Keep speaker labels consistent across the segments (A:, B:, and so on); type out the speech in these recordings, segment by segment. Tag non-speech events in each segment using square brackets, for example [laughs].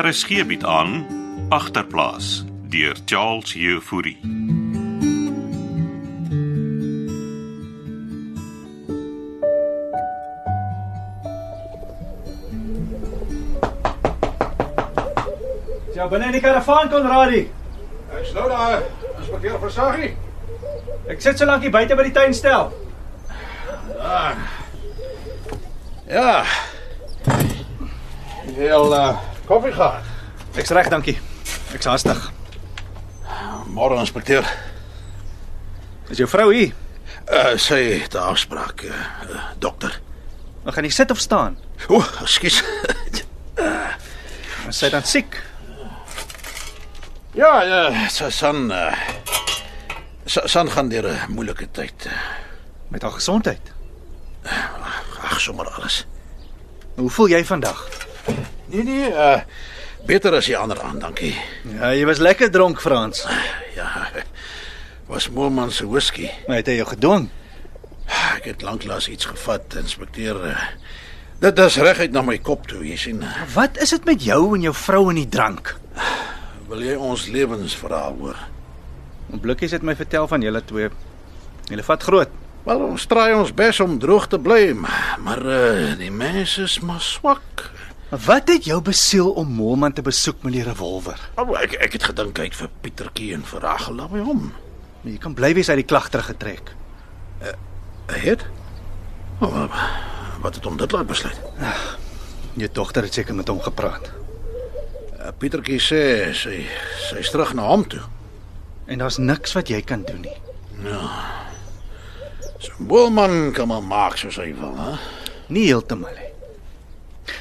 A: RSG bied aan agterplaas deur Charles Jefouri.
B: Ja, binne in die karavaan kon raai.
C: Ek slou daar. Inspekteur Versaggie.
B: Ek sit so lank hier buite by die tuinstel.
C: Ja. Heel uh, koffie gehad.
B: Ek's reg, dankie. Ek's haastig.
C: Môre inspekteur.
B: Is jou vrou hier?
C: Uh, sy het 'n afspraak, uh, uh, dokter.
B: Ons gaan nie sit of staan.
C: O, ekskuus.
B: Ons sy dan siek.
C: [laughs] ja, ja, sy son uh, sy son gaan deur 'n moeilike tyd. eh,
B: Met haar gesondheid.
C: Ag, sommer alles.
B: Hoe voel jy vandag?
C: Nee nee, uh, beter as die ander aan, dankie. [laughs]
B: Ja, jy was lekker dronk, Frans.
C: Ja. Was Moorman se whisky.
B: Maar het hy jou gedwing?
C: Ek het lanklaas iets gevat, inspekteur. Uh, dit is reguit na my kop toe, jy sien. eh.
B: Wat is dit met jou en jou vrou en die drank?
C: Wil jy ons lewensverhaal hoor?
B: Blikkies het my vertel van julle twee. Julle vat groot.
C: Wel, ons straai ons bes om droog te bly, maar, maar eh, die mens is maar swak.
B: Wat het jou besiel om Molman te besoek, meneer Revolver?
C: Ou, ek ek het gedink hy het vir Pietertjie en vir Ragel by hom.
B: Jy kan bly wees uit die klag teruggetrek.
C: Hy het? Oh, wat het hom dit laat besluit?
B: Jou dogter het seker met hom gepraat.
C: Eh, Pietertjie sê sy sy's terug na hom toe.
B: En daar's niks wat jy kan doen nie.
C: So 'n boelman kan maar maak soos hy wil, hè?
B: Nie heeltemal nie.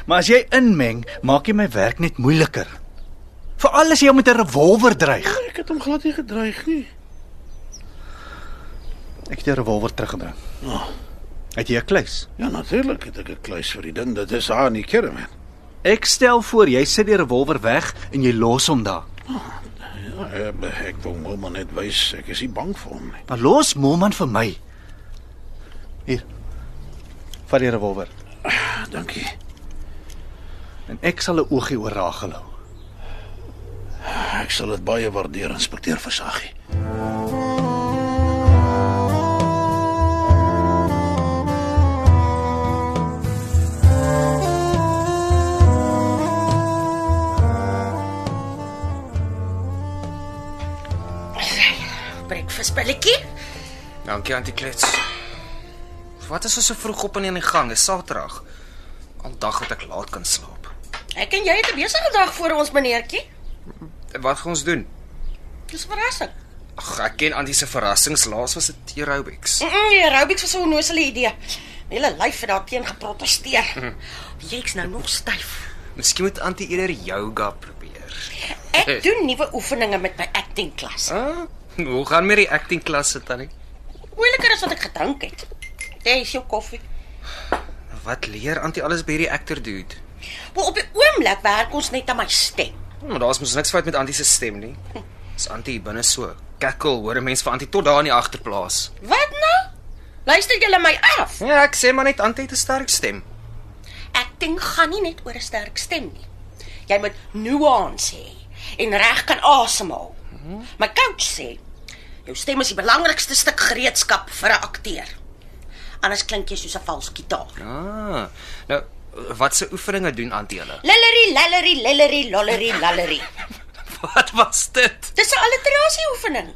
B: Maar as jy inmeng, maak jy my werk net moeiliker. Veral as jy hom met 'n revolver dreig.
C: Ek het hom glad nie gedreig nie.
B: Ek het jou revolver teruggebring.
C: Oh.
B: Het jy 'n kluis?
C: Ja, natuurlik het ek 'n kluis vir die ding. Dit is haar in die kerman.
B: Ek stel voor jy sit die revolver weg en jy los hom daar.
C: Ja, eh, ek wil hom maar net wys ek is nie bang vir hom nie.
B: Maar los Molman vir my. Hier. Vat die revolver
C: Ah, dankie.
B: en ek sal 'n oogie oor Ragel hou.
C: Ek sal dit baie waardeer, inspekteur Versaggie.
D: Breakfast billetjie?
E: Dankie Auntie Klets. Wat is ons so vroeg op en in die gang? Is Saterdag. Al dag wat ek laat kan slaap.
D: Ek en jy het 'n besige dag voor ons, meneertjie.
E: En wat gaan ons doen?
D: Dis 'n verrassing.
E: Ag, ek ken Auntie se verrassings. Laas was dit aerobics.
D: Mm, -mm die aerobics was so 'n nosele idee. My hele lyf het daarteen geprotesteer. Jy's nou nog styf.
E: Miskien moet Auntie eerder yoga probeer.
D: Ek doen nuwe oefeninge met my acting klas.
E: Ah, hoe gaan met die acting klasse tannie?
D: Moeiliker as wat ek gedink het. Jy is jou koffie.
E: Wat leer Auntie alles by hierdie actor dude?
D: Maar op die oomblik werk ons net aan my stem.
E: Hm, Maar daar's mos niks fout met Auntie se stem nie. Is Auntie hier binne so? Kakkel hoor 'n mens vir Auntie tot daar in die agterplaas.
D: Wat nou? Luister julle my af.
E: Ja, ek sê maar net Auntie het 'n sterk stem.
D: Acting gaan nie net oor 'n sterk stem nie. Jy moet nuance hê en reg kan asemhaal. My coach sê jou stem is die belangrikste stuk gereedskap vir 'n akteur. Anders klink jy soos 'n vals gitaar.
E: Ah. Nou, wat se oefeninge doen Auntie hulle?
D: Lillery, lillery, lillery, lollery, lallery.
E: Wat was dit?
D: Dis 'n alliterasie oefening.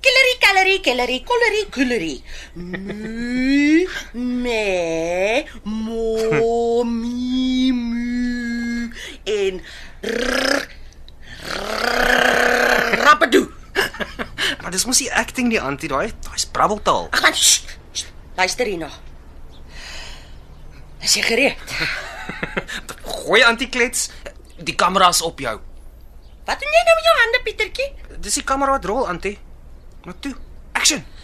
D: Killery, calorie, killery, collery, coolery. Nu, me, mo, mi, mu en rrr, rrr, rapadoe.
E: Maar dis mos nie acting nie, Antie, daai daai's brabbeltaal.
D: Ag, man, sst, sst, luister hierna. Is jy gereed?
E: Gooi Antie klets. Die kamera's op jou.
D: Wat doen jy nou met jou hande, Pietertjie?
E: Dis die kamera wat rol, Antie. Maar toe. Action. [laughs]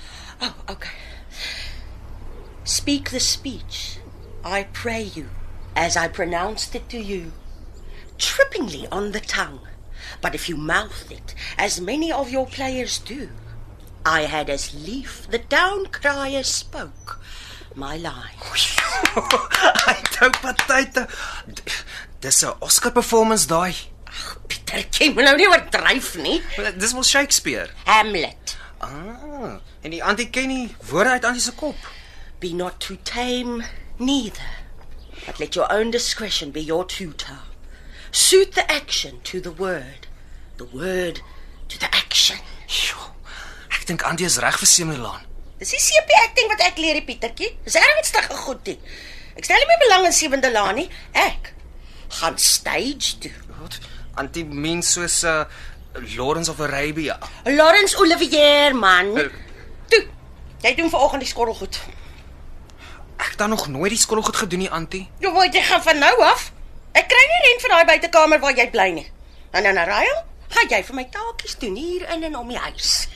D: Oh, okay. Speak the speech. I pray you, as I pronounced it to you, trippingly on the tongue. But if you mouth it, as many of your players do, I had as lief the town crier spoke my line.
E: Hy tou patate. D- Dis 'n Oscar performance daai.
D: Pieter, jy moet nou nie oordryf nie.
E: Wel, Dis mos Shakespeare.
D: Hamlet.
E: Ah, en die antie ken nie woorde uit antie se kop.
D: Be not too tame, neither. But let your own discretion be your tutor. Suit the action to the word, the word to the action.
E: Jo. Ek dink antie is reg vir Semelaan.
D: Dis die sepie acting wat ek leer, die Pietertjie. Dis ernstige goed dit. Ek stel nie meer belang in sewende laan nie. Ek gaan stage toe.
E: Wat? Antie meen soos 'n uh, Lawrence of Arabia.
D: Lawrence Olivier man. Toe. Jy doen vanoggend die skorrel goed.
E: Ek het dan nog nooit die skool goed gedoen nie, antie.
D: Nou word jy gaan van nou af. Ek kry nie rent van daai buitekamer waar jy bly nie. En dan Ryan, gaan jy vir my taakies doen hier in en om die huis.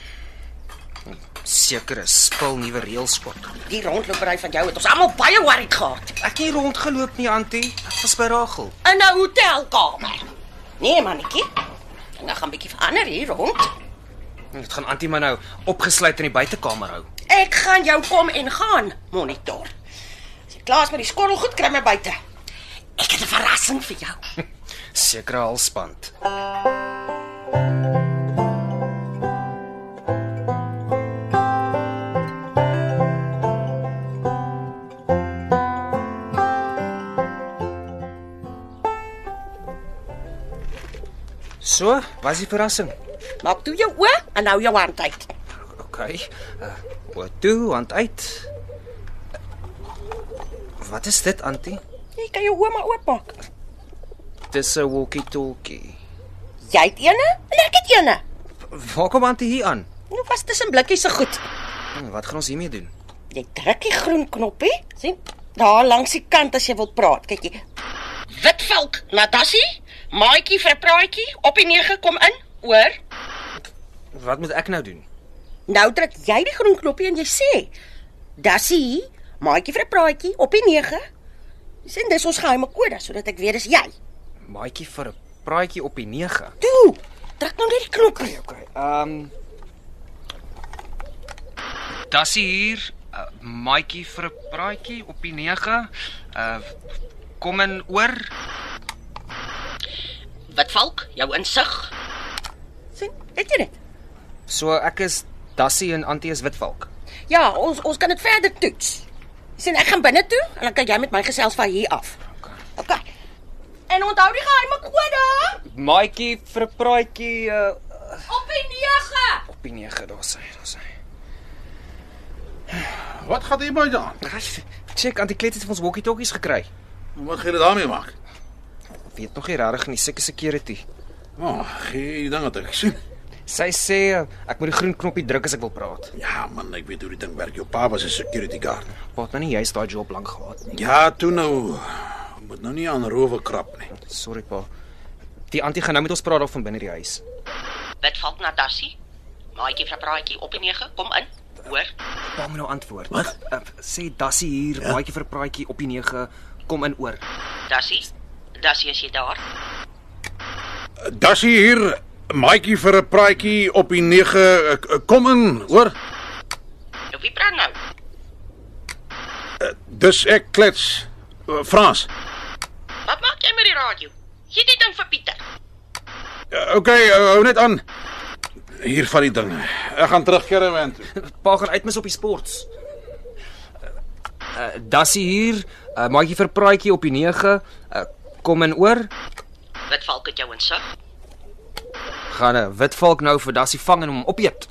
E: Sekere spul nuwe reëls koop.
D: Die rondlopery van jou het ons almal baie worried gehad.
E: Ek het nie rondgeloop nie, antie. Ek was by Ragel.
D: In 'n hotelkamer. Nee mannetjie. Dinge gaan bietjie verander hier rond.
E: Dit gaan antie my nou opgesluit in die buitekamer hou.
D: Ek gaan jou kom en gaan monitor. As jy klaar is met die skorrel goed kry my buite. Ek het 'n verrassing vir jou.
E: Sekere halsband. So, was die verrassing.
D: Maak toe jou oë en hou jou hand uit.
E: OK. Uh, wat toe, hand uit. Wat is dit, Antie?
D: Jy kan jou oë maar oopmaak.
E: Dis 'n walkie-talkie.
D: Jy het eene en ek het eene.
E: Waar kom Antie hier aan?
D: Nou was tussen blikkies se goed.
E: Hm, Wat gaan ons hiermee doen?
D: Jy druk die groen knoppie, sien? Daar langs die kant as jy wil praat, kyk jy. Witvelk, Natassie, maatjie vir praatjie, op die 9 kom in, hoor?
E: Wat moet ek nou doen?
D: Nou druk jy die groen knoppie en jy sê: "Dassie, maatjie vir 'n praatjie op die 9." Sien, dis ons geheime kode sodat ek weet dis jy.
E: Maatjie vir 'n praatjie op die 9.
D: Toe, druk nou net die knoppie.
E: OK. Ehm um, Dassie hier, uh, maatjie vir 'n praatjie op die 9. Uh kom in oor.
D: Witvelk, jou insig. Sien, het jy dit?
E: So ek is Dassie en Antie is Witvalk.
D: Ja, ons ons kan dit verder toets. Sien, ek gaan binne toe en dan kan jy met my gesels van hier af.
E: OK.
D: OK. En onthou die geheime kode
E: Maatjie vir 'n praatjie uh,
D: op die 9.
E: op die 9, daar's hy, daar's hy.
C: Wat gaan jy my aan?
E: Check, Antie Klet het vir ons walkie-talkies gekry.
C: Wat gaan jy daarmee maak?
E: Weet nog nie regtig nie, seker security.
C: O, oh, gee dan dat ek sien.
E: Sy sê uh, ek moet die groen knoppie druk as ek wil praat.
C: Ja man, ek weet hoe die ding werk. Jou pa was 'n security guard.
E: Wat nou nie jy's daai job lank gehad nie.
C: Ja, toe nou moet nou nie aan rowe krap nie.
E: Sorry pa. Die antie gaan nou met ons praat daar van binne die huis.
D: Witvalk Natassie. Maatjie vir 'n praatjie op die 9. Kom in. Hoor?
E: Pa moet nou antwoord.
C: Wat?
E: Uh, sê Dassie hier, ja? maatjie vir 'n praatjie op die 9, kom in oor.
D: Dassie. Dassie is jy daar?
C: Dassie hier, maatjie vir 'n praatjie op die 9. Ek- ek Kom in, hoor.
D: Nou wie praat nou?
C: Dis ek klets. Uh, Frans.
D: Wat maak jy met die radio? Gee dit ding vir Pieter.
C: Uh, okay, uh, hou net aan. Hier van die ding. Ek gaan terug caravan toe.
E: Pa gaan uitmis op die sports. Uh, uh, Dassie hier, uh, maatjie vir 'n praatjie op die 9, uh, kom in oor.
D: Witvalk het jou insig.
E: Gaan 'n witvalk nou vir Dassie vang en hom [laughs] opeet.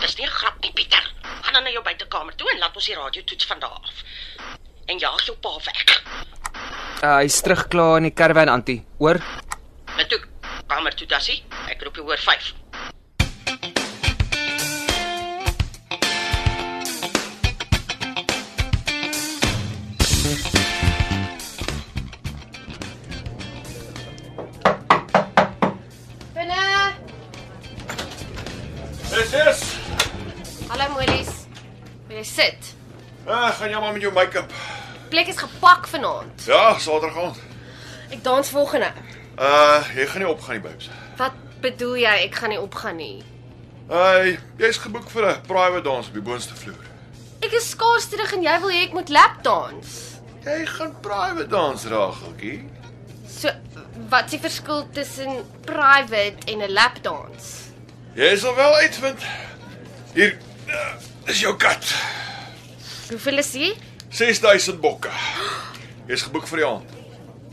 D: Dis nie 'n grap nie, Pieter. Gaan dan na jou buitekkamer toe en laat ons die radio toets van daar af. En jaag jou pa weg.
E: uh, hy's terug klaar in die karavaan antie. Oor.
D: Net toe kamer toe, Dassie. Ek roep jou oor 5.
F: Binne.
G: Dis is.
F: Hallo Molies. Wil jy sit?
G: Ag, gaan jy maar met jou make-up.
F: Plek is gepak vanaand.
G: Ja, Saterdag aand.
F: Ek dans volgende.
G: Uh, jy gaan nie opgaan nie, babes.
F: Wat bedoel jy? Ek gaan nie opgaan nie.
G: Hey, jy's geboek vir 'n private dans op die boonste vloer.
F: Ek is skaars terug en jy wil hê ek moet lap dans.
G: Jy gaan private dans, Rageltjie.
F: So wat s'ie verskil tussen private en 'n lapdans?
G: Jy sal wel uitvind. Hier eh, is jou kat.
F: Hoeveel is dit
G: 6000 bokke. Jy's geboek vir die aand.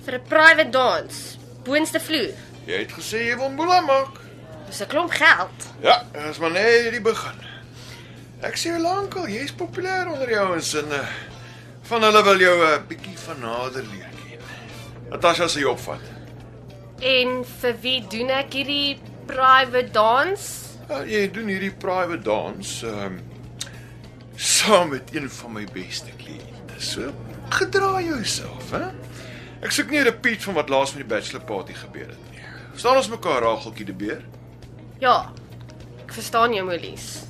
F: vir 'n private dans? Boonste vloer.
G: Jy het gesê jy wil boela maak.
F: Dis 'n klomp geld.
G: Ja, as maar net hierdie begin. Ek sê jou lankal, jy's populêr onder die ouens en eh, van hulle wil jou 'n bietjie van nader leer ken. Natasha sê jy opvat.
F: En vir wie doen ek hierdie private dans?
G: Ja, jy doen hierdie private dans ehm saam met een van my beste kliënte. So gedra jouself, hè? Ek soek nie 'n repeat van wat laas met die bachelor party gebeur het nie. Staan ons mekaar rageltjie die beer?
F: Ja. Ek verstaan jou, Molies.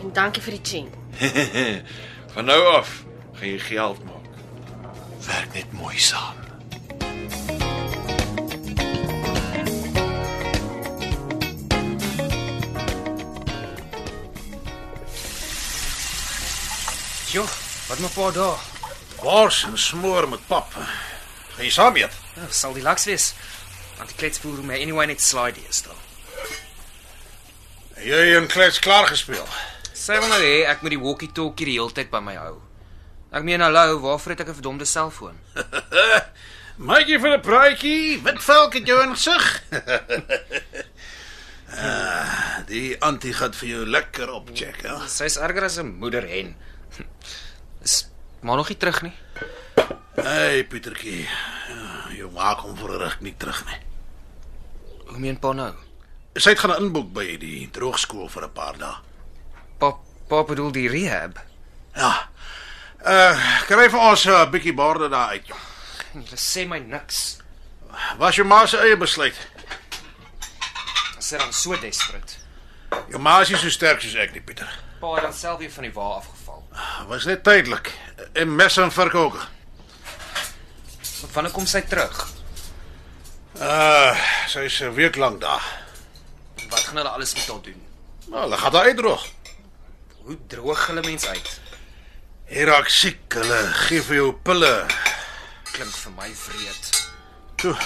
F: En dankie vir die ching.
G: Van nou af gaan jy geld maak. Werk net mooi saam.
E: Jo, wat my pa daar.
C: Wors en smoor met pap. Gaan jy saam eet?
E: Nou, sal die laks wees. Want die klets voer my anyway net slide hier staan.
C: Jy en Klets klaar gespeel.
E: Sy wil nou hê ek moet die walkie-talkie die hele tyd by my hou. Ek meen hallo, waarvoor het ek 'n verdomde selfoon?
C: Maak jy vir 'n praatjie? Wit velk het jou in gesig. ah, die anti gaan vir jou lekker opcheck, hè?
E: Sy's erger as 'n moeder hen. [laughs] Is maar nog nie terug nie.
C: Hey Pietertjie. Ja, Jou maak hom vir 'n ruk nie terug nie.
E: Hoe meen pa nou?
C: Sy het gaan inboek by die droogskool vir 'n paar dae.
E: Pa pa bedoel die rehab.
C: Ja. Uh, kry vir ons 'n uh, bietjie borde daar uit.
E: En jy sê my niks.
C: Was jou ma se eie besluit.
E: As sy dan so desperate.
C: Jou ma is nie so sterk soos ek nie, Pieter.
E: Pa het dan self weer van die wa afgeval.
C: Was net tydelik. En mes en vark ook.
E: Want wanneer kom sy terug?
C: Uh, sy is 'n week lank daar.
E: En Wat gaan hulle alles met haar doen?
C: Nou, hulle gaan daar uitdroog.
E: Hoe droog hulle mens uit?
C: Hier raak siek. Hulle gee vir jou pille.
E: Klink vir my wreed.
C: Toe,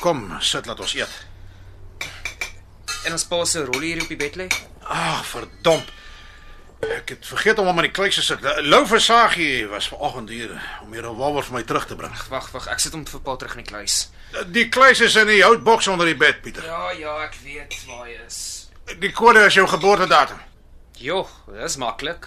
C: kom, sit laat ons eet.
E: En ons pa se rollie hier op die bed lê.
C: Ag, Ah, verdomp. Ek het vergeet om hom aan die kluis te sit. Lou Versagie was vanoggend hier om hier 'n revolver vir my terug te bring.
E: Wag, wag, ek sit hom vir pa terug in die kluis.
C: Die kluis is in die houtboks onder die bed, Pieter.
E: Ja, ja, ek weet waar hy is.
C: Die kode is jou geboortedatum.
E: Jo, dis maklik.